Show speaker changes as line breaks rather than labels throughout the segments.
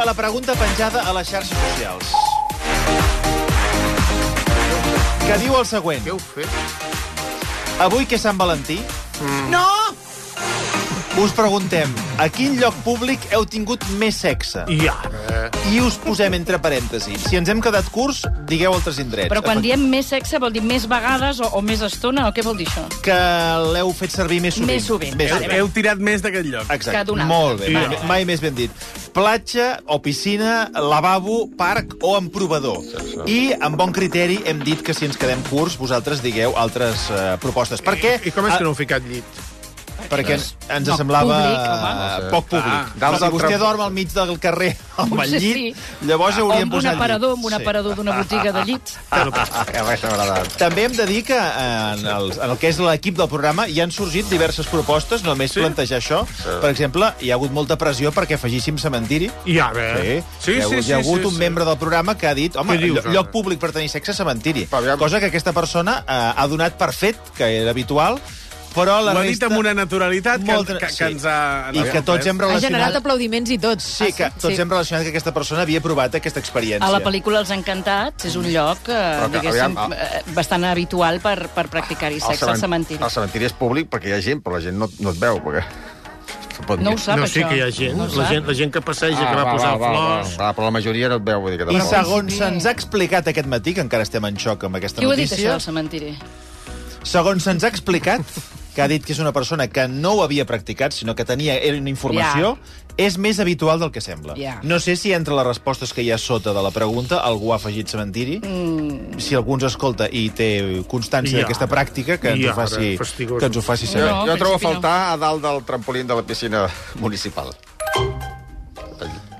a la pregunta penjada a les xarxes socials. Que diu el següent.
Què heu fet? Mm.
Avui que és Sant Valentí,
No!
us preguntem a quin lloc públic heu tingut més sexe? I,
Ja. Eh,
I us posem entre parèntesis. Si ens hem quedat curts, digueu altres indrets.
Però quan diem més sexe vol dir més vegades o, o més estona o què vol dir això?
Que l'heu fet servir més sovint.
Més sovint.
Més
Vale,
sovint.
Heu tirat més d'aquest lloc.
Que
Exacte,
d'un altre.
molt bé,
Vale.
mai, mai més ben dit. Platja o piscina, lavabo, parc o emprovador. I amb bon criteri hem dit que si ens quedem curts vosaltres digueu altres uh, propostes. Per què?
I com és que no heu ficat llit?
Ah, Perquè ens, ens
Poc
semblava
Doncs, públic, home.
eh, poc
Ah,
públic. Ah,
dalt
si
del
vostè
tram-
dorm al mig del carrer amb el
Sí,
llit,
sí.
llavors
O
hauríem
amb un
posat
aparador,
llit.
amb un
Sí.
aparador d'una botiga de llits.
També hem de dir que eh, en el, en el que és l'equip del programa hi han sorgit diverses propostes, només sí? plantejar això. Per exemple, hi ha hagut molta pressió perquè afegíssim cementiri.
Ja, bé.
Sí,
Sí,
hi ha,
sí,
hi ha
sí,
hagut
sí,
un
sí.
membre del programa que ha dit home,
Què dius,
dius,
ara?
lloc públic per tenir sexe, cementiri.
Aviam.
Cosa que aquesta persona eh, ha donat per fet, que era habitual, però la
Ho ha dit
resta...
amb una naturalitat que,
Molta-
que,
sí.
que ens ha... eh?
I que tots hem
Ha generat
relacionat...
aplaudiments i tots.
Sí, que tots hem relacionat que aquesta persona havia provat aquesta experiència.
A la pel·lícula Els Encantats és un lloc, eh,
que,
diguéssim,
aviam,
eh, bastant habitual per, per practicar-hi sexe al cementiri.
El cementiri és públic perquè hi ha gent, però la gent no, no et veu. Perquè... No pot
No ho
dir. Ah,
sap,
no
això.
sé que hi ha gent,
No ho
la
sap.
gent, la gent que passeja, que va, posar flors...
Va, però la majoria no et veu. Vull dir que
I
tampoc.
segons se'ns ha explicat aquest matí, que encara estem en xoc amb aquesta
Qui ho ha dit, això,
notícia,
del cementiri?
segons se'ns ha explicat, que ha dit que és una persona que no ho havia practicat, sinó que tenia era una informació, és més habitual del que sembla.
Ja.
No sé si entre les respostes que hi ha sota de la pregunta algú ha afegit cementiri, mm. si algú ens escolta i té constància
Ja.
d'aquesta pràctica, que ens,
Ja,
ho faci,
fastigoso.
que ens ho faci
Jo,
saber.
No,
jo trobo a
principi no.
faltar a dalt del trampolín de la piscina municipal.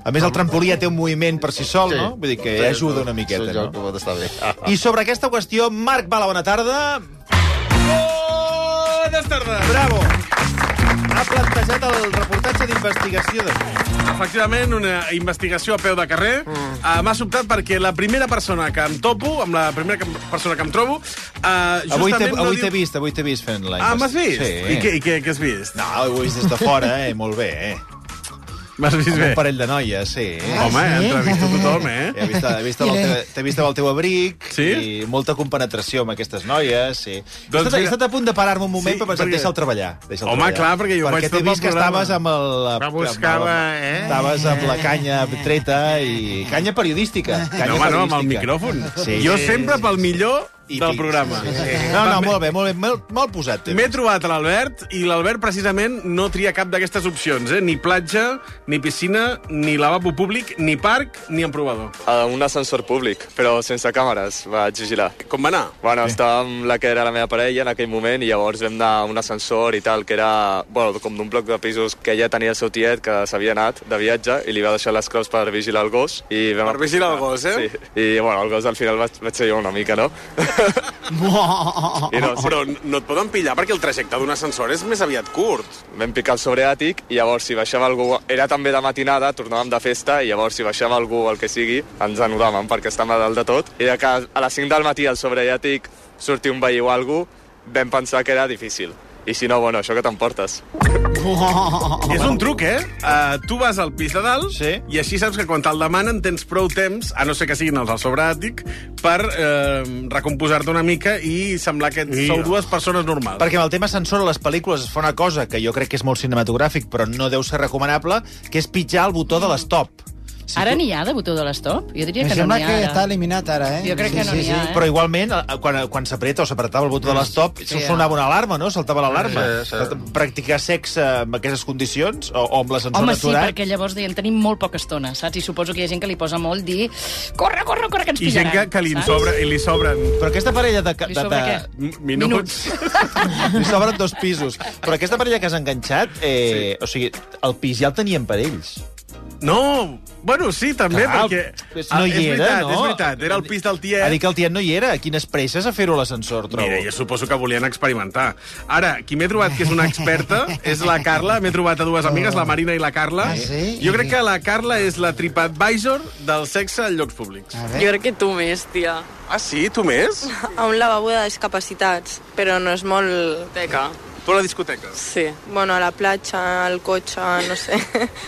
A més, el trampolí ja té un moviment per si sol,
Sí. Doncs
no? Vull dir que ajuda una miqueta,
Sí, jo,
no?
Pot estar bé.
I sobre aquesta qüestió, Marc Bala, bona tarda.
Bones tardes!
Bravo! Ha plantejat el reportatge d'investigació d'avui.
Efectivament, una investigació a peu de carrer. Mm. Uh, M'ha sobtat perquè la primera persona que em topo, amb la primera que, persona que em trobo, uh,
Avui t'he
justament
avui
no
t'he
diu...
vist, avui t'he vist fent la
Ah, m'has vist?
Sí.
I què, i què, què has vist?
No, ho he vist des de fora, eh? Molt bé, eh?
M'has vist
Amb
bé?
un parell de noies, sí. eh.
Home, sí? entrevisto tothom, eh?
He vist, he vist amb el teu, t'he vist amb el teu abric
Sí?
i molta compenetració amb aquestes noies. Sí. He,
Doncs
estat, he
mira-
estat a punt de parar-me un moment
Sí,
sí, per pensar, perquè...
perquè-
deixa'l treballar. Deixa'l
Home,
treballar.
clar, perquè jo vaig
perquè
tot
t'he
el
vist que
programa.
estaves amb el...
Va buscar
amb
la-
el-
eh?
Estaves amb la canya treta i... Canya periodística. Canya
Eh. No, home, no, amb el
periodística.
micròfon.
Sí,
jo
sí,
sempre pel millor
I
del
pics.
programa. Eh,
Sí, sí. No, no, molt bé, molt bé, molt, molt posat.
M'he trobat a l'Albert i l'Albert precisament no tria cap d'aquestes opcions, eh? Ni platja, ni piscina, ni lavabo públic, ni parc, ni emprovador.
a Eh, un ascensor públic, però sense càmeres, vaig vigilar.
Com va anar?
Bueno, estava amb la que era la meva parella en aquell moment i llavors vam anar a un ascensor i tal, que era bueno, com d'un bloc de pisos que ella tenia el seu tiet que s'havia anat de viatge i li va deixar les claus per vigilar el gos. I vam
Per vigilar el gos,
Sí.
eh?
I bueno, el gos al final vaig, vaig ser jo una mica, no? I Eh, no, sí.
Ah, Però no et poden pillar perquè el trajecte d'un ascensor és més aviat curt.
Vam picar el sobreàtic i llavors si baixava algú... Era també de matinada, tornàvem de festa i llavors si baixava algú, el que sigui, ens anudàvem perquè estàvem a dalt de tot. I de que a les 5 del matí al sobreàtic sortia un veí o algú, vam pensar que era difícil. I si no, bueno, això que t'emportes.
És un truc, eh? Uh, tu vas al pis de dalt
Sí.
i així saps que quan te'l demanen tens prou temps, a no ser que siguin els del sobreàtic, per eh, recomposar-te una mica i semblar que ets, sou dues persones normals.
Perquè amb el tema sensor a les pel·lícules es fa una cosa que jo crec que és molt cinematogràfic, però no deu ser recomanable, que és pitjar el botó de l'estop. Si
Ara
tu-
n'hi ha de botó de l'estop? Jo diria
Em
que no
sembla
n'hi ha.
que
ara.
està eliminat ara, eh?
Jo crec que no n'hi ha, eh?
Però igualment, eh, quan, quan s'apreta o s'apretava el botó de l'estop, sí, sonava una alarma, no? Saltava l'alarma.
Sí, sí.
Practicar sexe amb aquestes condicions o, o amb
Doncs
l'ascensor
Home, sí,
aturat...
perquè llavors deien, tenim molt poca estona, saps? I suposo que hi ha gent que li posa molt dir, corre, corre, corre, que ens
I gent
pillaran.
que, que li,
saps?
sobra, i li sobren
Però aquesta parella de... ca-
Li
de,
sobra
de
què?
m-
Minuts.
minuts.
li sobren dos pisos. Però aquesta parella que has enganxat, eh, sí. o sigui, el pis ja el tenien per ells.
No, bueno, sí, també,
Clar,
perquè... Ah,
no hi
és
era,
veritat,
no?
És veritat, era el pis del tiet.
Ha dit que el tiet no hi era. Quines presses a fer-ho a l'ascensor, trobo.
Mira, jo suposo que volien experimentar. Ara, qui m'he trobat que és una experta és la Carla. M'he trobat a dues amigues, la Marina i la Carla.
Ah, sí?
Jo crec que la Carla és la TripAdvisor del sexe en llocs públics.
A
Jo
veure,
crec que tu més, tia.
Ah, sí? Tu més?
a un lavabo de discapacitats, però no és molt...
Teca.
Tu a la discoteca.
Sí. Bueno, a la platja, al cotxe, no sé.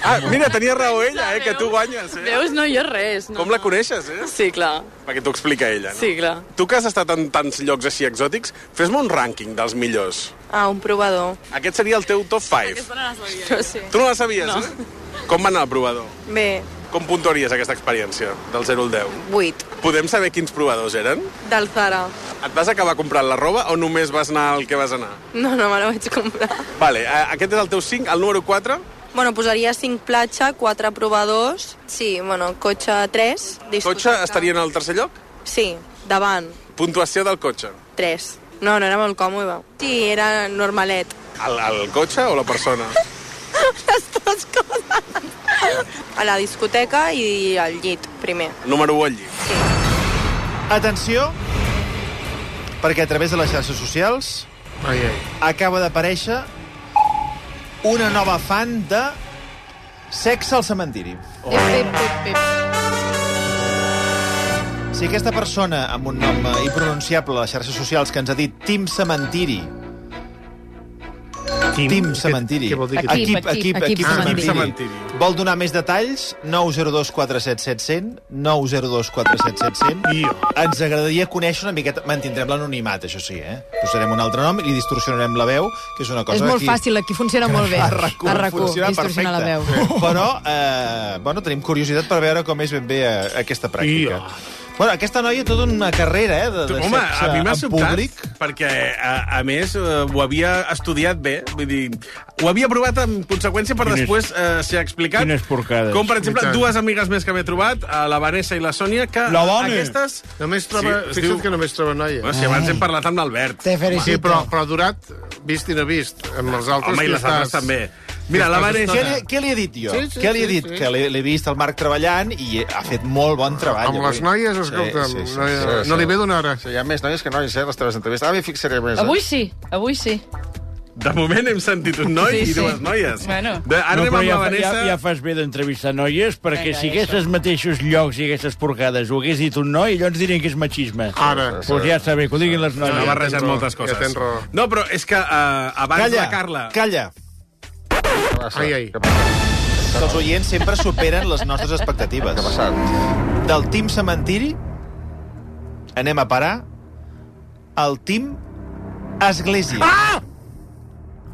Ah, mira, tenia raó ella, eh, que tu guanyes. Eh?
Veus, no, jo res. No,
Com la
no.
coneixes, eh?
Sí, clar.
Perquè t'ho explica ella, no?
Sí, clar.
Tu que has estat en tants llocs així exòtics, fes-me un rànquing dels millors.
Ah, un provador.
Aquest seria el teu top 5.
No sé.
Tu no la sabies, no. eh? Com va anar el provador?
Bé,
Com puntuaries aquesta experiència, del 0 al 10?
8.
Podem saber quins provadors eren?
Del Zara.
Et vas acabar comprant la roba o només vas anar al que vas anar?
No, no me la vaig comprar.
Vale, a- aquest és el teu 5, el número 4.
Bueno, posaria 5 platja, 4 provadors... Sí, bueno, cotxe 3.
Cotxe estaria en el tercer lloc?
Sí, davant,
Puntuació del cotxe.
3. No, no era molt còmode. Sí, era normalet.
El, el cotxe o la persona?
Les dues coses. A la discoteca i al llit, primer.
Número 1 al llit.
Atenció, perquè a través de les xarxes socials
Ai, ai.
acaba d'aparèixer una nova fan de Sexe al cementiri.
Pep, pep, pep.
Si aquesta persona amb un nom eh, impronunciable a les xarxes socials que ens ha dit Tim Cementiri,
Tim,
Tim Cementiri,
Què vol dir?
Aquí.
Aquí.
Equip, equip, equip
cementiri.
vol donar més detalls, 902 477 700, 902 477 700.
Io.
Ens agradaria conèixer una miqueta... Mantindrem l'anonimat, això sí, eh? Posarem un altre nom i distorsionarem la veu, que és una cosa
És molt
que aquí...
fàcil, aquí funciona molt bé.
A RAC1,
A RAC1,
funciona
distorsionar la veu.
perfecte. Però, eh, bueno, tenim curiositat per veure com és ben bé eh, aquesta pràctica.
Ia.
Bueno, aquesta noia tota una carrera, eh, de, de
Home,
sexe
a mi m'ha
en
sobtat,
públic.
perquè, a, a més, eh, ho havia estudiat bé, vull dir, ho havia provat en conseqüència per
Quines-
després eh, ser explicat.
quines porcades.
Com, per exemple,
I tant.
dues amigues més que m'he trobat, a la Vanessa i la Sònia, que
La Ah. Vane.
aquestes...
Només troba...
Sí, es
Sí,
diu-
Fixa't que només troba noia.
Bueno, si abans hem parlat amb l'Albert.
Te
Sí,
felicito.
però, però ha durat vist i no vist. Amb els altres...
Home, i
tu
les altres
estàs-
també. Mira,
tu
la
estàs
Vanessa...
Què
estona.
li, què li he dit jo?
Sí, sí,
què li he
sí,
dit?
sí.
Que l'he l'he vist al Marc treballant i eh, ha fet molt bon treball.
Amb les
avui.
noies, escolta'm, sí, sí, sí, no,
sí, sí.
no li ve d'una hora.
Hi ha més noies que noies, eh, les teves entrevistes. Ara m'hi fixaré més. eh?
Avui sí, avui sí.
De moment hem sentit un
Sí,
noi sí, sí.
sí.
i dues noies.
Bueno.
De, ara
No,
anem
però ja,
amb la
fa- ja,
Vanessa...
ja fas bé d'entrevistar noies, perquè
Vinga,
si aquestes mateixos llocs i aquestes porcades ho hagués dit un noi, llavors dirien que és machisme.
Ara.
Doncs pues ja està bé, que ho diguin les noies.
No,
Ja
ha barrejat
tens raó,
moltes
ja
coses.
tens raó.
No, però és que eh, abans
Calla,
la Carla...
calla.
Què passa?
Ai, ai.
Què passa?
Que els oients sempre superen les nostres expectatives.
Què ha passat?
Del Team Cementiri anem a parar al Team Església. Ah!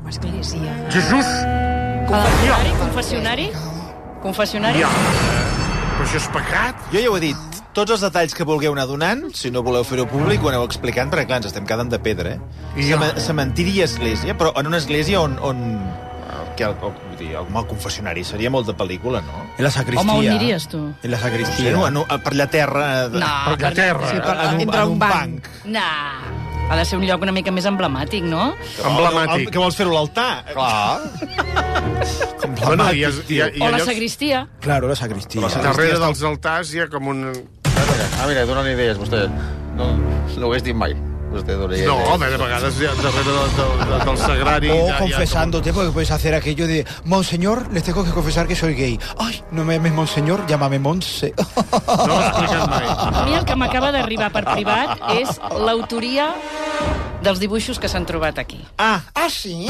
Església.
Confessionari, confessionari? Confessionari? Ja.
Però això és pecat.
Jo ja ho he dit. Tots els detalls que vulgueu anar donant, si no voleu fer-ho públic, ho aneu explicant, perquè clar, ens estem quedant de pedra, eh?
Ja.
Cema- Cementiri i església, però en una església on... on que el, o, vull dir, el mal confessionari seria molt de pel·lícula, no?
En la sacristia.
Home, on aniries, tu?
En la
Sí,
sacristia.
no, en, un- per la terra... eh,
No.
Per la terra.
Sí,
Sí,
per,
En un-
entre
en
un,
un
banc.
banc.
Nah. Ha de ser un lloc una mica més emblemàtic, no?
Oh,
El, el,
Emblemàtic.
que vols fer-ho a l'altar?
Ah, eh,
Clar.
Bueno, hi ha, hi ha, hi
O
ha
la
llocs...
sagristia.
Claro, la sacristia.
Darrere dels altars hi ha com un...
Ah, mira, donant idees, vostè. No, no ho hagués dit mai. Vostè dona idees.
No, home, de vegades hi ha darrere del, del, del, del sagrari... hi ha- hi ha
O
com-
confesándote, porque puedes hacer aquello de Monseñor, les tengo que confesar que soy gay. Ay, no me llames Monseñor, llámame Monse.
No ho he explicat mai.
A mi el que m'acaba d'arribar per privat és l'autoria dels dibuixos que s'han trobat aquí.
Ah,
ah, sí.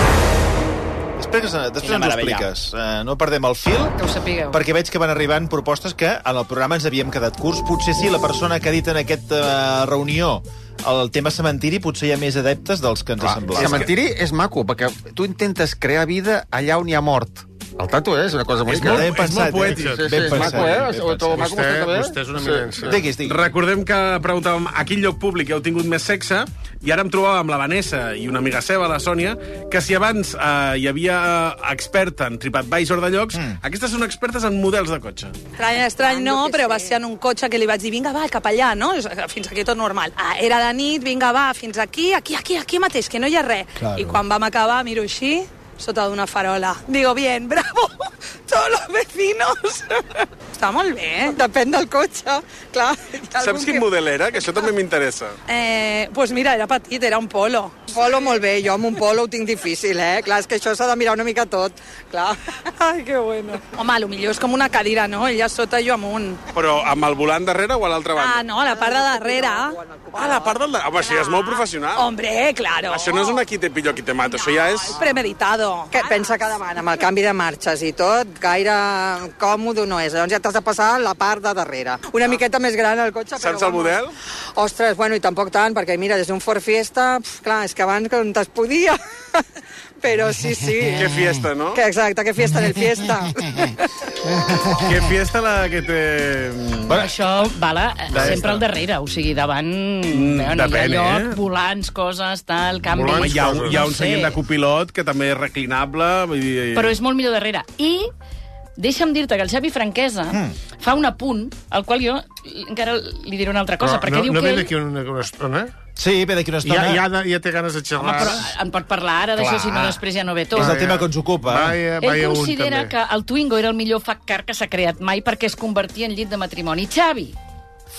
després,
eh,
després
Quina
ens ho
meravella.
expliques. Uh, no perdem el fil.
Que ho sapigueu.
perquè veig que van arribant propostes que en el programa ens havíem quedat curts. Potser sí, la persona que ha dit en aquesta eh, reunió el tema cementiri, potser hi ha més adeptes dels que ens ha
Clar,
semblat.
cementiri és maco, perquè tu intentes crear vida allà on hi ha mort. El tato eh, és una cosa bonica.
ben pensat,
molt
eh?
poètic.
Sí, sí,
ben
és
pensat.
maco, eh?
ben
Ho trobo
pensat.
maco,
Vostè,
vostè també.
vostè és una
Sí.
eminència.
Diguis, diguis.
Recordem que preguntàvem a quin lloc públic heu tingut més sexe i ara em trobava amb la Vanessa i una amiga seva, la Sònia, que si abans eh, hi havia experta en TripAdvisor de llocs, mm. aquestes són expertes en models de cotxe.
Estrany, estrany no, però va ser en un cotxe que li vaig dir, vinga, va, cap allà, no? eh, Fins aquí tot normal. Ah, era de nit, vinga, va, fins aquí, aquí, aquí, aquí mateix, que no hi ha res.
Claro.
I quan vam acabar, miro així, sota d'una farola. Digo, bien, bravo, todos los vecinos. Està molt bé, eh? Depèn del cotxe, clar.
Saps quin model era? Que això també m'interessa.
Eh, pues mira, era petit, era un polo. Polo molt bé, jo amb un polo ho tinc difícil, eh? Clar, és que això s'ha de mirar una mica tot, clar. Ai, que bueno. Home, lo millor és com una cadira, no? Ella sota i jo amunt.
Però amb el volant darrere o a l'altra banda?
Ah, no, la part de darrere.
Ah, la part del... de- Home, això ja és molt professional.
Hombre, claro.
Això no és una qui te pillo, qui te mato, això ja és...
Premeditado. Què pensa que davant, amb el canvi de marxes i tot, gaire còmode no és. Llavors ja t'has de passar la part de darrere. Una miqueta més gran el cotxe, però...
Saps el
vamos.
model?
Ostres, bueno, i tampoc tant, perquè mira, des d'un Ford Fiesta, pf, clar, és que abans que on es podia... però sí, sí.
Qué fiesta, no?
Que exacte, que fiesta del fiesta.
Qué fiesta la que te...
Bueno, això bala eh,
Depèn.
sempre al darrere, o sigui, davant... no, no,
depèn,
hi ha lloc,
eh?
volants, coses, tal, canvis...
Home, hi ha, un- hi ha un
No sé.
seient de copilot que també és reclinable, vull dir...
Però és molt millor darrere. I deixa'm dir-te que el Xavi Franquesa mm. fa un apunt, al qual jo encara li diré una altra cosa,
Però
perquè
no,
diu
no
que
ve
ell...
d'aquí una, una estona?
Sí, ve d'aquí una
Ja,
estona.
ja, ja té ganes de xerrar.
Home, Ah, però en pot parlar ara d'això,
Clar.
si no després ja no ve tot.
És el tema que ens ocupa.
Vaya,
Ell
vaya
considera
un, també.
que el Twingo era el millor fuck car que s'ha creat mai perquè es convertia en llit de matrimoni. Xavi,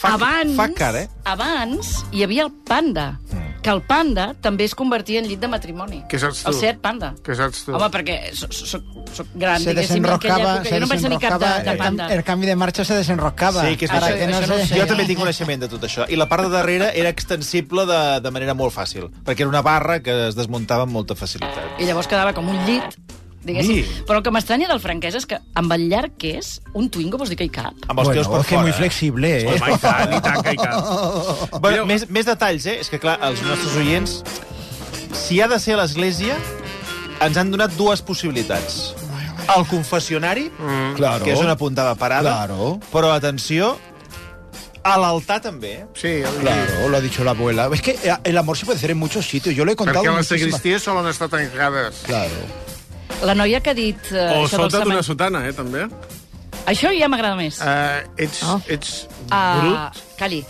abans,
fuck car, eh?
abans hi havia el panda, que el panda també es convertia en llit de matrimoni.
Què saps tu?
El Seat Panda.
Què saps tu?
Home, perquè soc, soc, soc gran,
se
diguéssim, en aquella
desenrocaba,
època.
se
Jo no em vaig tenir cap de,
desenrocaba,
de
el,
panda.
cam- el canvi de marxa se desenrocaba.
Sí, que és
Para
veritat.
no se
Jo
se-
també tinc coneixement de tot això. I la part de darrere era extensible de, de manera molt fàcil, perquè era una barra que es desmuntava amb molta facilitat.
I llavors quedava com un llit, diguéssim.
Sí.
Però el que m'estranya del francès és que amb el llarg que és, un Twingo vols dir que hi cap?
Amb els
Bueno,
teus per
es que
fora.
muy flexible, eh?
Home, i tant, i tant, que hi cap.
Bueno, més, més detalls, eh? És que, clar, els nostres oients... Si ha de ser a l'església, ens han donat dues possibilitats. El confessionari, mm.
Claro.
que és una puntada parada,
Claro.
però, atenció, a l'altar també. eh?
Sí, el...
Claro, lo ha dicho la abuela. Es que eh, el amor se puede hacer en muchos sitios. Yo lo he contado
Perquè les
muchísimas-
sagristies solen estar tancades.
Claro.
La noia que ha dit eh,
O
això del
sota d'una
setman...
sotana, eh, també.
Això ja m'agrada més.
Uh, ets, oh. ets
Ah,
brut.
Cali.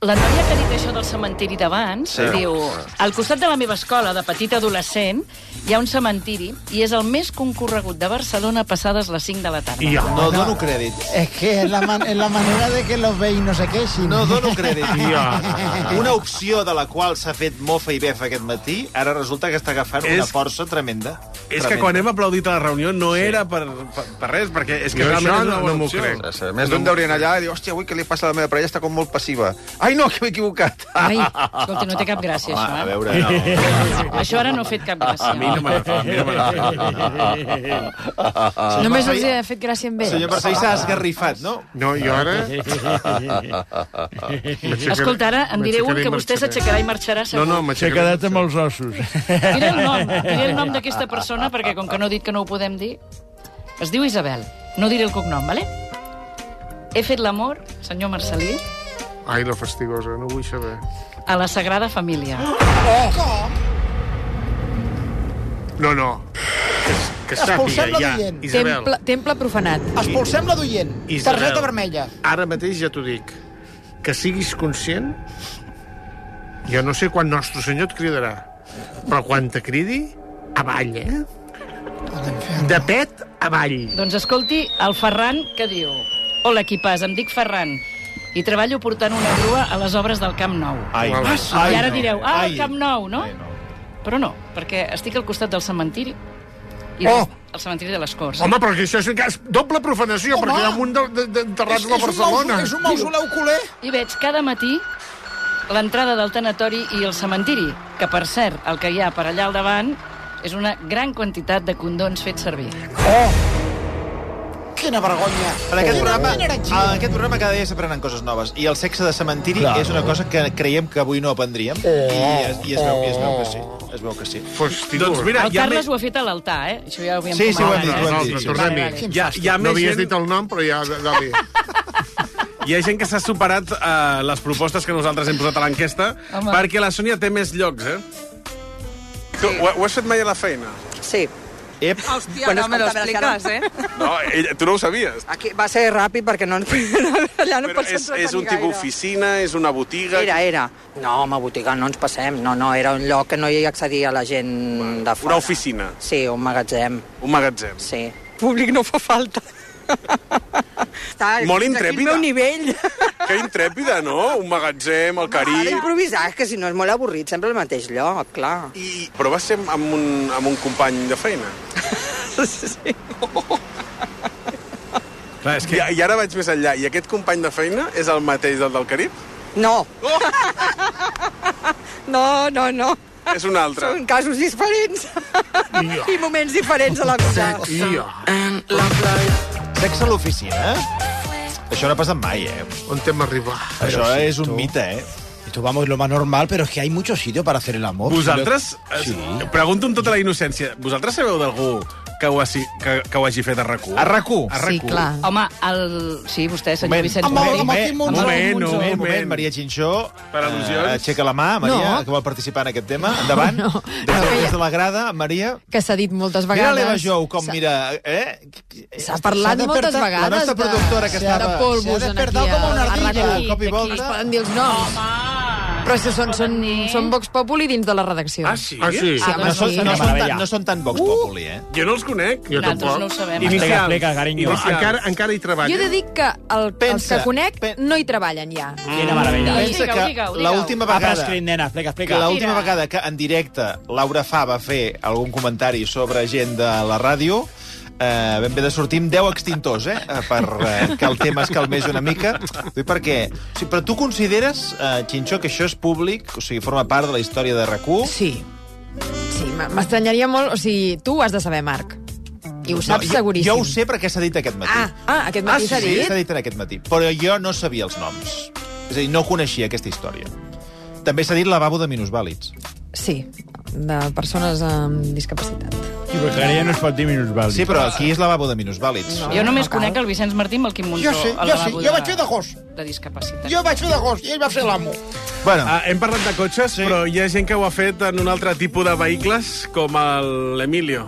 La noia que ha dit això del cementiri d'abans sí. diu... Al costat de la meva escola, de petit adolescent, hi ha un cementiri i és el més concorregut de Barcelona passades les 5 de la tarda.
I ja.
No dono crèdit.
Es que es Eh, la, man- es la manera de que los veis no sé qué. Sin...
No dono crèdit.
Ja.
Una opció de la qual s'ha fet mofa i befa aquest matí, ara resulta que està agafant una
És-
força tremenda.
És que
Tremenda.
quan hem aplaudit a la reunió no era per, per, per res, perquè és que
Jo això
realment és una
no-
bona
no m'ho
opció.
crec.
Ostres, eh, Més d'un deurien allà i dir, hòstia, avui què li passa a la meva parella? Està com molt passiva. Ai, no, que m'he equivocat.
Ai, escolti, no té cap gràcia,
Home,
això, eh?
a veure, no.
Això ara no ha fet cap gràcia.
A mi no me la fa, a mi no me la fa.
Només els hi ha fet gràcia amb ell.
Senyor Marcell s'ha esgarrifat, no?
No, jo ara...
Escolta, ara en diré un que vostè s'aixecarà i marxarà
No,
segur.
no,
S'ha
m'aixecaré.
quedat amb els ossos.
Diré el nom, diré el nom d'aquesta persona, perquè com que no he dit que no ho podem dir... Es diu Isabel. No diré el cognom, vale? He fet l'amor, senyor Marcelí,
Ai, la fastigosa, no ho vull saber.
a la Sagrada Família.
No, no. Que, que sàpiga,
Expulsem-la
ja.
d'Orient.
Isabel,
Temple, temple profanat.
Expulsem la d'oient.
Isabel.
Targeta vermella.
ara mateix ja t'ho dic. Que siguis conscient... Jo no sé quan Nostre Senyor et cridarà, però quan te cridi, avall, eh? De pet avall.
Doncs escolti el Ferran que diu... Hola, qui pas, em dic Ferran i treballo portant una grua a les obres del Camp Nou.
Ai,
Ai,
I ara
no.
direu, ah,
Ai.
el Camp Nou, no?
Ai, no.
Però no, perquè estic al costat del cementiri i
Oh!
del cementiri de les Corts.
Home, però que això és un cas doble profanació,
Home!
perquè hi ha un de- de- d'enterrats de, de, de Barcelona.
És un mausoleu culer.
I veig cada matí l'entrada del tanatori i el cementiri, que, per cert, el que hi ha per allà al davant és una gran quantitat de condons fets servir.
Oh! Quina vergonya.
En aquest, programa,
Quina
en
energia.
aquest programa cada dia s'aprenen coses noves. I el sexe de cementiri
Claro.
és una cosa que creiem que avui no aprendríem.
Eh,
I, es, i es, veu, i es veu que sí. Es veu que sí.
Fastigós.
Doncs mira,
El
hi ha,
Carles
més,
ho ha fet a l'altar, eh? Això ja ho havíem
Sí, sí, ho hem dit,
comentat,
ho hem
eh?
dit.
no,
sí.
tornem-hi.
Vale, vale.
hi ha, hi ha
No
més
havies
gent...
dit el nom, però ja... Dali.
Hi ha gent que s'ha superat eh, les propostes que nosaltres hem posat a l'enquesta
Home.
perquè la Sònia té més llocs, eh? Tu, ho, ho has fet mai a la feina?
Sí.
Ep,
Hòstia, bueno, no me lo explicas, eh?
No, ell, tu no ho sabies.
Aquí va ser ràpid perquè no ens... Allà no
Però
pots
és, és
entretenir
un tipus
gaire.
oficina, és una botiga...
Era, era. No, home, botiga, no ens passem. No, no, era un lloc que no hi accedia la gent de fora.
Una oficina,
Sí, un magatzem,
un magatzem.
sí. Públic no fa falta.
Està,
Molt
aquí Al meu
intrèpida.
nivell.
Que intrèpida, no? Un magatzem, el
M'agrada
Carib...
improvisar, és que si no és molt avorrit, sempre al mateix lloc, clar.
I... Però va ser amb un, amb un company de feina.
Sí.
Clar, és que... I, I ara vaig més enllà. I aquest company de feina és el mateix del del Carib?
No. No, no, no.
És un altre.
Són casos diferents. I moments diferents a la vida.
Sexe a l'oficina? eh? Això no ha passat mai, eh?
On hem arribat?
Això
Pero si
és un
esto-
mite, eh?
Esto vamos lo más normal, pero es que hay muchos sitios para hacer el amor.
Vosaltres,
Sí.
eh, pregunto amb tota la innocència, vosaltres sabeu d'algú que ho, hagi, que, que ho hagi fet a rac
A RAC1?
A RAC1.
Home, el... sí, vostè, senyor Vicenç
moment,
Bonet. Amb
moment,
el-
moment,
Monzó.
moment, moment, Maria Chinchó.
Per al·lusions.
eh, Aixeca la mà, Maria,
No.
que vol participar en aquest tema. Endavant. No, des, de, des de la grada, Maria.
Que s'ha dit moltes
Mira
vegades.
l'Eva Jou com
S'ha-
mira... Eh?
S'ha parlat moltes vegades
La nostra
de-
productora que
de
estava...
polvos
s'ha
en
despertat
aquí,
com una
a- a
ardilla,
Madrid,
de cop i
aquí.
volta.
Es poden dir els noms. Però si són, són, són Vox Populi dins de la redacció. Ah,
sí?
Ah, sí?
sí home,
no, són,
sí.
no, són tan, no són tan Vox Populi, eh?
Jo no els conec.
Jo Nosaltres tampoc. no ho sabem. Explica, explica, carinyo.
Encara, encara hi treballa.
Jo he de dir que el, els
Pensa, Mm.
que conec no hi treballen ja.
Quina meravella.
Pensa
Digue-ho,
que
digue-ho,
la
digue-ho.
última
Va,
vegada...
però escrit, nena, explica, explica.
Que l'última
Mira.
vegada que en directe Laura Fa va fer algun comentari sobre gent de la ràdio, eh, vam haver de sortir amb 10 extintors, eh? eh, Per eh, que el tema es calmés una mica. Vull dir, perquè... O sigui, però tu consideres, eh, Xinxó, que això és públic, o sigui, forma part de la història de rac Sí.
Sí, m- m'estranyaria molt... O sigui, tu ho has de saber, Marc. I ho saps
jo,
seguríssim.
jo ho sé perquè s'ha dit aquest matí.
Ah, ah, aquest matí s'ha
sí,
dit?
s'ha dit en aquest matí. Però jo no sabia els noms. És a dir, no coneixia aquesta història. També s'ha dit lavabo de minusvàlids.
Sí, de persones amb discapacitat.
Sí, però
clar, ja no es pot dir minusvàlids.
Sí, però aquí és lavabo de minusvàlids.
Jo només conec el Vicenç Martí amb el Quim Monzó.
Jo sí,
al
jo
lavabo
sí, jo vaig fer de
gos.
De discapacitat.
Jo vaig fer de gos i ell va fer l'amo.
Bueno.
Ah, hem parlat de cotxes, sí. però hi ha gent que ho ha fet en un altre tipus de vehicles, com el l'Emilio.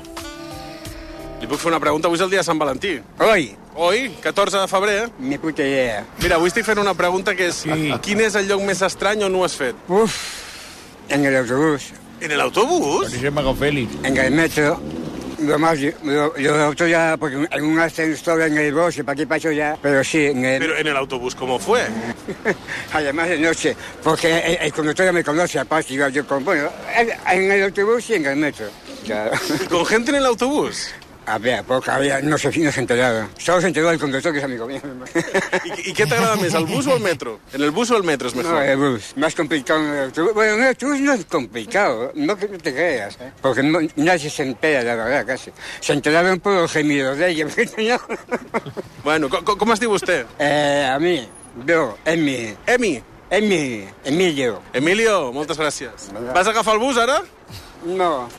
Li puc fer una pregunta? Avui és el dia de Sant Valentí.
Oi.
Oi, 14 de febrer. eh?
Ni puta idea.
Mira, avui estic fent una pregunta que és sí. quin és el lloc més estrany on ho has fet?
Uf, en el autobús.
En el autobús?
Por ejemplo, Félix. En el metro. Lo más, lo, lo otro ya, porque en un ascensor en el bosque, para aquí paso ya, pero sí, en el...
Pero en el autobús, ¿cómo fue?
Además de noche, porque el, el conductor ya me conoce, aparte yo, yo con, bueno, en, en el autobús y en el metro.
¿Con gente en el autobús?
Había poca, había, no sé si no se enteraba. Solo se enteró el conductor, que es amigo mío.
¿Y, y qué te agrada más, el bus o el metro? ¿En el bus o el metro es mejor?
No, el bus. Más complicado en el autobús. Bueno, en el autobús no es complicado, no que no te creas, ¿eh? porque no- nadie se entera, la verdad, casi. Se enteraron por los gemidos de ella.
bueno, ¿cómo has dicho usted?
Eh, a mí, yo, Emi.
Emi.
Emi, Emilio.
Emilio, moltes gràcies. Vas agafar el bus, ara?
No.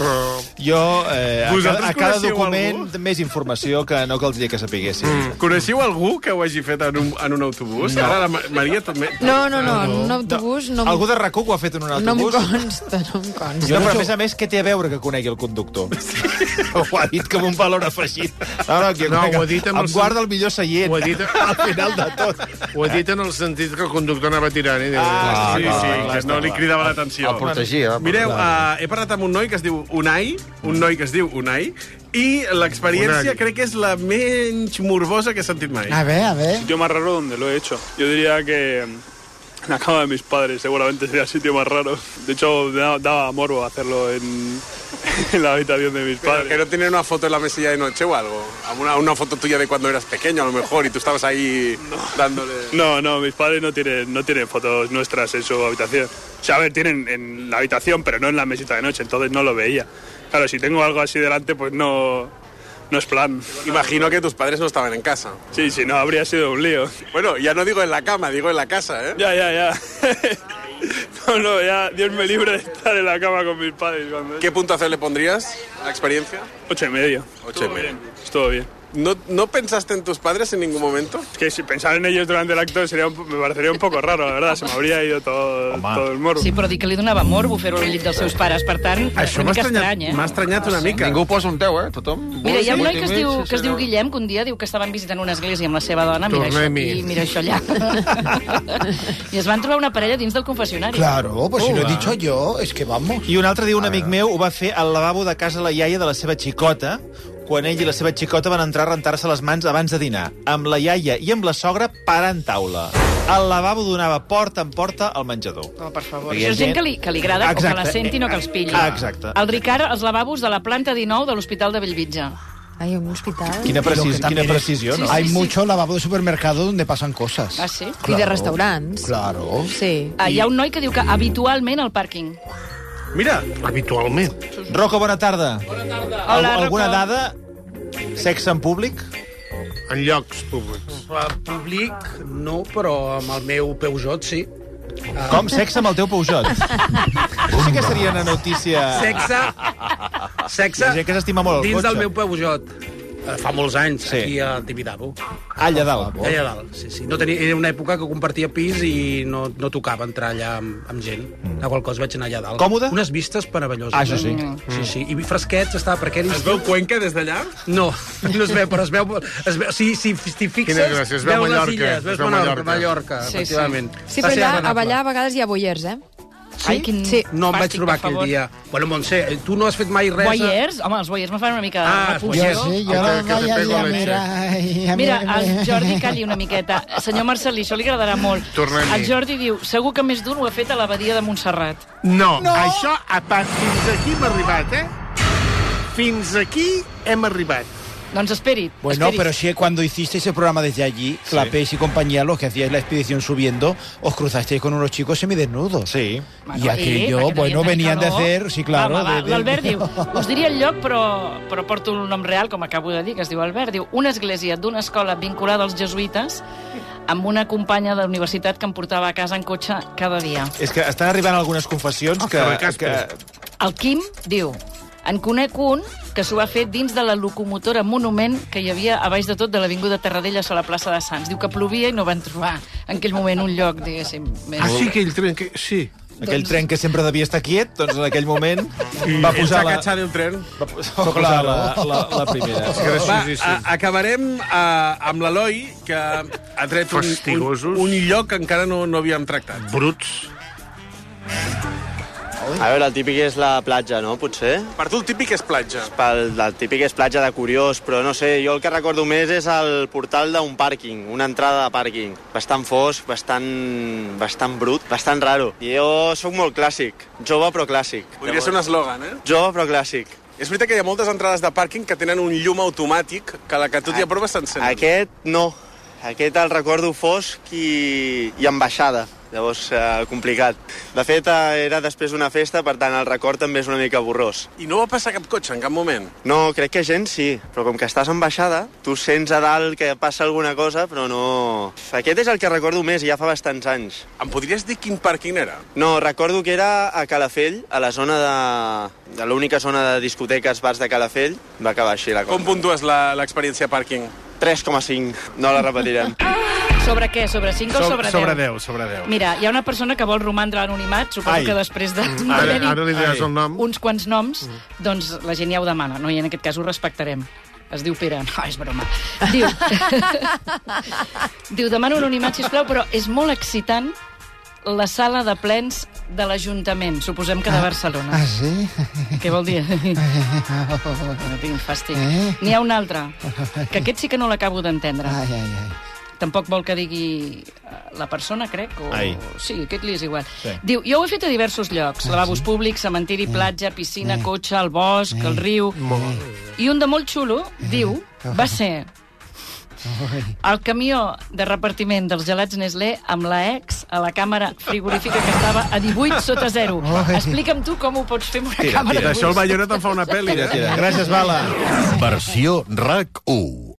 Però... Jo, eh, a, cada,
Vosaltres
a cada
coneixeu
document, algú? més informació que no caldria que sapiguessin. Mm.
Coneixiu algú que ho hagi fet en un, en un autobús?
No.
Ara la Ma- Maria també... Ah.
No, no, no, en un autobús no,
Algú de rac ho ha fet en un
no, no em
autobús?
consta, no em consta.
Jo, però, a més a més, què té a veure que conegui el conductor? Sí. ho ha dit com un valor afegit. No, no, que,
No,
que,
ho ha dit amb
em
el-
guarda el millor seient.
Ho ha dit-
al final de tot.
Ho he dit en el sentit que el conductor anava tirant. eh? I deia,
Ah, sí, sí, que no li cridava l'atenció.
El protegia, el
Mireu,
protegia.
uh, he parlat amb un noi que es diu Unai, un noi que es diu Unai, i l'experiència
Unai. Ah.
crec que és la menys morbosa que he sentit mai.
A ver, a ver.
Sitio más raro donde lo he hecho. Yo diría que mm, en la cama de mis padres seguramente sería el sitio más raro. De hecho, me da- daba morbo hacerlo en, en la habitación de mis
Pero
padres.
que no tienen una foto en la mesilla de noche o algo. Una, una foto tuya de cuando eras pequeño, a lo mejor, y tú estabas ahí dándole...
No, no, mis padres no tienen, no tienen fotos nuestras en su habitación. O sea, a ver, tienen en la habitación, pero no en la mesita de noche, entonces no lo veía. Claro, si tengo algo así delante, pues no, no es plan.
Imagino que tus padres no estaban en casa.
Sí, si no, habría sido un lío.
Bueno, ya no digo en la cama, digo en la casa, ¿eh?
Ya, ya, ya. No, no, ya, Dios me libre de estar en la cama con mis padres. Cuando...
¿Qué puntuación le pondrías a la experiencia?
Ocho y medio.
Ocho y medio.
Estuvo bien.
¿No, ¿No pensaste en tus padres en ningún momento?
Es que si pensar en ellos durante el acto sería un- me parecería un poco raro, la verdad. Se me habría ido todo, todo el morbo.
Sí, però dir que li donava morbo fer-ho al llit dels seus pares, per tant,
Això
una
m'ha
mica
estranyat-
estrany, eh?
m'ha
estranyat una mica.
Ningú posa un 10, eh? Tothom...
Mira, hi ha un noi que es diu,
Sí, sí,
que es diu
no.
Guillem, que un dia diu que estaven visitant una església amb la seva dona, mira això
Tornem-hi.
aquí, mira això allà. I es van trobar una parella dins del confessionari.
Claro, pues
Oh,
si lo he
Hola.
dicho yo, es que vamos.
I un altre dia un amic meu ho va fer al lavabo de casa la iaia de la seva xicota quan ell i la seva xicota van entrar a rentar-se les mans abans de dinar, amb la iaia i amb la sogra parant taula. El lavabo donava porta en porta al menjador.
No, per favor.
Hi ha
Això és gent
gent-
que li, que li agrada Exacte. o que la
Exacte.
senti no que els pilli.
Ah, exacte.
El Ricard, als lavabos de la planta 19 de l'Hospital de Bellvitge.
Ay, un hospital.
Quina, precis, quina precisió, no?
Hay mucho lavabo de supermercado donde pasan cosas.
Ah, sí?
Y de restaurants.
Claro.
Sí.
Ah, hi ha un noi que diu que habitualment al pàrquing.
Mira, habitualment. Rocco, bona tarda. Bona tarda.
Hola, Rocco.
alguna dada? Sexe en públic? En llocs públics.
Públic, no, però amb el meu Peugeot, sí. Ah.
Com sexe amb el teu Peugeot? Això sí que seria una notícia...
Sexe,
Hi
sexe
ha gent que s'estima molt el
dins
cotxe.
del meu Peugeot. Eh, Fa molts anys, sí. aquí a Tibidabo.
Ah, Allà dalt.
Allà dalt, sí, sí. No tenia, era una època que compartia pis i no, no tocava entrar allà amb, amb gent. Mm. La qual cosa vaig anar allà dalt. Còmode? Unes vistes meravelloses.
Ah, això sí.
Mm.
Mm.
Sí, sí. I fresquets, estava per aquell...
Es veu Cuenca des d'allà?
No, no es veu, però es veu... Es veu si, si, si t'hi fixes,
Quina gràcia, es veu
veus
Mallorca,
les illes,
es
veus
veu
Menorca,
Mallorca.
Mallorca,
Sí, sí.
efectivament.
Sí,
Va
però
ser
allà,
agradable.
allà a vegades hi ha boiers, eh?
Sí?
Ai, quin Sí.
No em vaig
fàstic,
trobar
per
aquell
favor.
dia. Bueno, Montse, eh, tu no has fet mai res... eh? a-
Boyers? Home, els boyers me fan una mica de
Ah,
repulsió.
boiers. Jo sí, jo Que- que te vaig pego allà, leche. mira,
Mira, el Jordi calli una miqueta. Senyor Marcelí, això li agradarà molt.
Tornem-hi.
El Jordi diu, segur que més d'un ho ha fet a l'abadia de Montserrat.
No,
No.
no, això a part, fins aquí hem arribat, eh? Fins aquí hem arribat.
Doncs esperi.
Bueno, Pues pero si cuando hicisteis el programa desde allí, la Peix y compañía, los que hacíais la expedición subiendo, os cruzasteis con unos chicos semidesnudos.
Sí.
y aquello, bueno, venían de hacer, sí, claro.
Va, va, va.
de- de-
L'Albert diu, us diria el lloc, però, però porto un nom real, com acabo de dir, que es diu Albert. Diu, una església d'una escola vinculada als jesuïtes amb una companya de la universitat que em portava a casa en cotxe cada dia.
És que estan arribant algunes confessions que... que...
El Quim diu, en conec un que s'ho va fer dins de la locomotora Monument que hi havia a baix de tot de l'Avinguda Terradellas a la plaça de Sants. Diu que plovia i no van trobar en aquell moment un lloc, diguéssim. Més...
Ah, sí, aquell tren que... Sí.
Aquell tren que sempre devia estar quiet, doncs en aquell moment va
Ets
posar
a
la...
catxar del tren.
Va posar la, la, la primera.
Va, a, acabarem a, amb l'Eloi, que ha tret un, un, un lloc que encara no, no havíem tractat.
Bruts.
A veure, el típic és la platja, no, potser?
Per tu el típic és platja.
Pel, el típic és platja de curiós, però no sé, jo el que recordo més és el portal d'un pàrquing, una entrada de pàrquing. Bastant fosc, bastant, bastant brut, bastant raro. Jo sóc molt clàssic, jove però clàssic.
Podria ser un eslògan, eh?
Jove però clàssic.
És veritat que hi ha moltes entrades de pàrquing que tenen un llum automàtic que la que tu t'hi aproves s'encén.
Aquest no. Aquest el recordo fosc i, i en baixada. Llavors, eh, complicat. De fet, eh, era després d'una festa, per tant, el record també és una mica borrós.
I no va passar cap cotxe en cap moment.
No, crec que gent sí, però com que estàs en baixada, tu sents a dalt que passa alguna cosa, però no... Aquest és el que recordo més, i ja fa bastants anys.
Em podries dir quin pàrquing era?
No, recordo que era a Calafell, a la zona de... de l'única zona de discoteques, bars de Calafell. Va acabar així la
Com
cosa.
puntues la- l'experiència pàrquing?
3,5. No la repetirem.
Sobre què? Sobre 5 o sobre 10?
sobre
10, sobre 10.
Mira, hi ha una persona que vol romandre anonimat, suposo
Ai.
que després de...
Mm, ara-
d'haver-hi
ara li diràs el nom. Mm.
Uns quants noms, doncs la gent ja ho demana, no? I en aquest cas ho respectarem. Es diu Pere. No, és broma. Diu... diu, demano anonimat, sisplau, però és molt excitant la sala de plens de l'Ajuntament, suposem que de Barcelona.
Ah, sí?
Què vol dir? No tinc fàstic.
Eh?
N'hi ha una altra, que aquest sí que no l'acabo d'entendre.
Ai, ai, ai.
Tampoc vol que digui eh, la persona, crec, o...
Ai.
Sí, aquest li és igual.
Sí.
Diu, jo ho he fet a diversos llocs,
Ah,
lavabos
sí? Eh,
públics, cementiri, platja, piscina, cotxe, el bosc, el riu...
Molt.
I un de molt xulo,
Eh,
diu, va ser el camió de repartiment dels gelats Nestlé amb la ex a la càmera frigorífica que estava a 18 sota 0. Explica'm tu com ho pots fer amb una càmera
D'això
frigorífica.
el Bayona te'n fa una pel·li.
Versió RAC 1.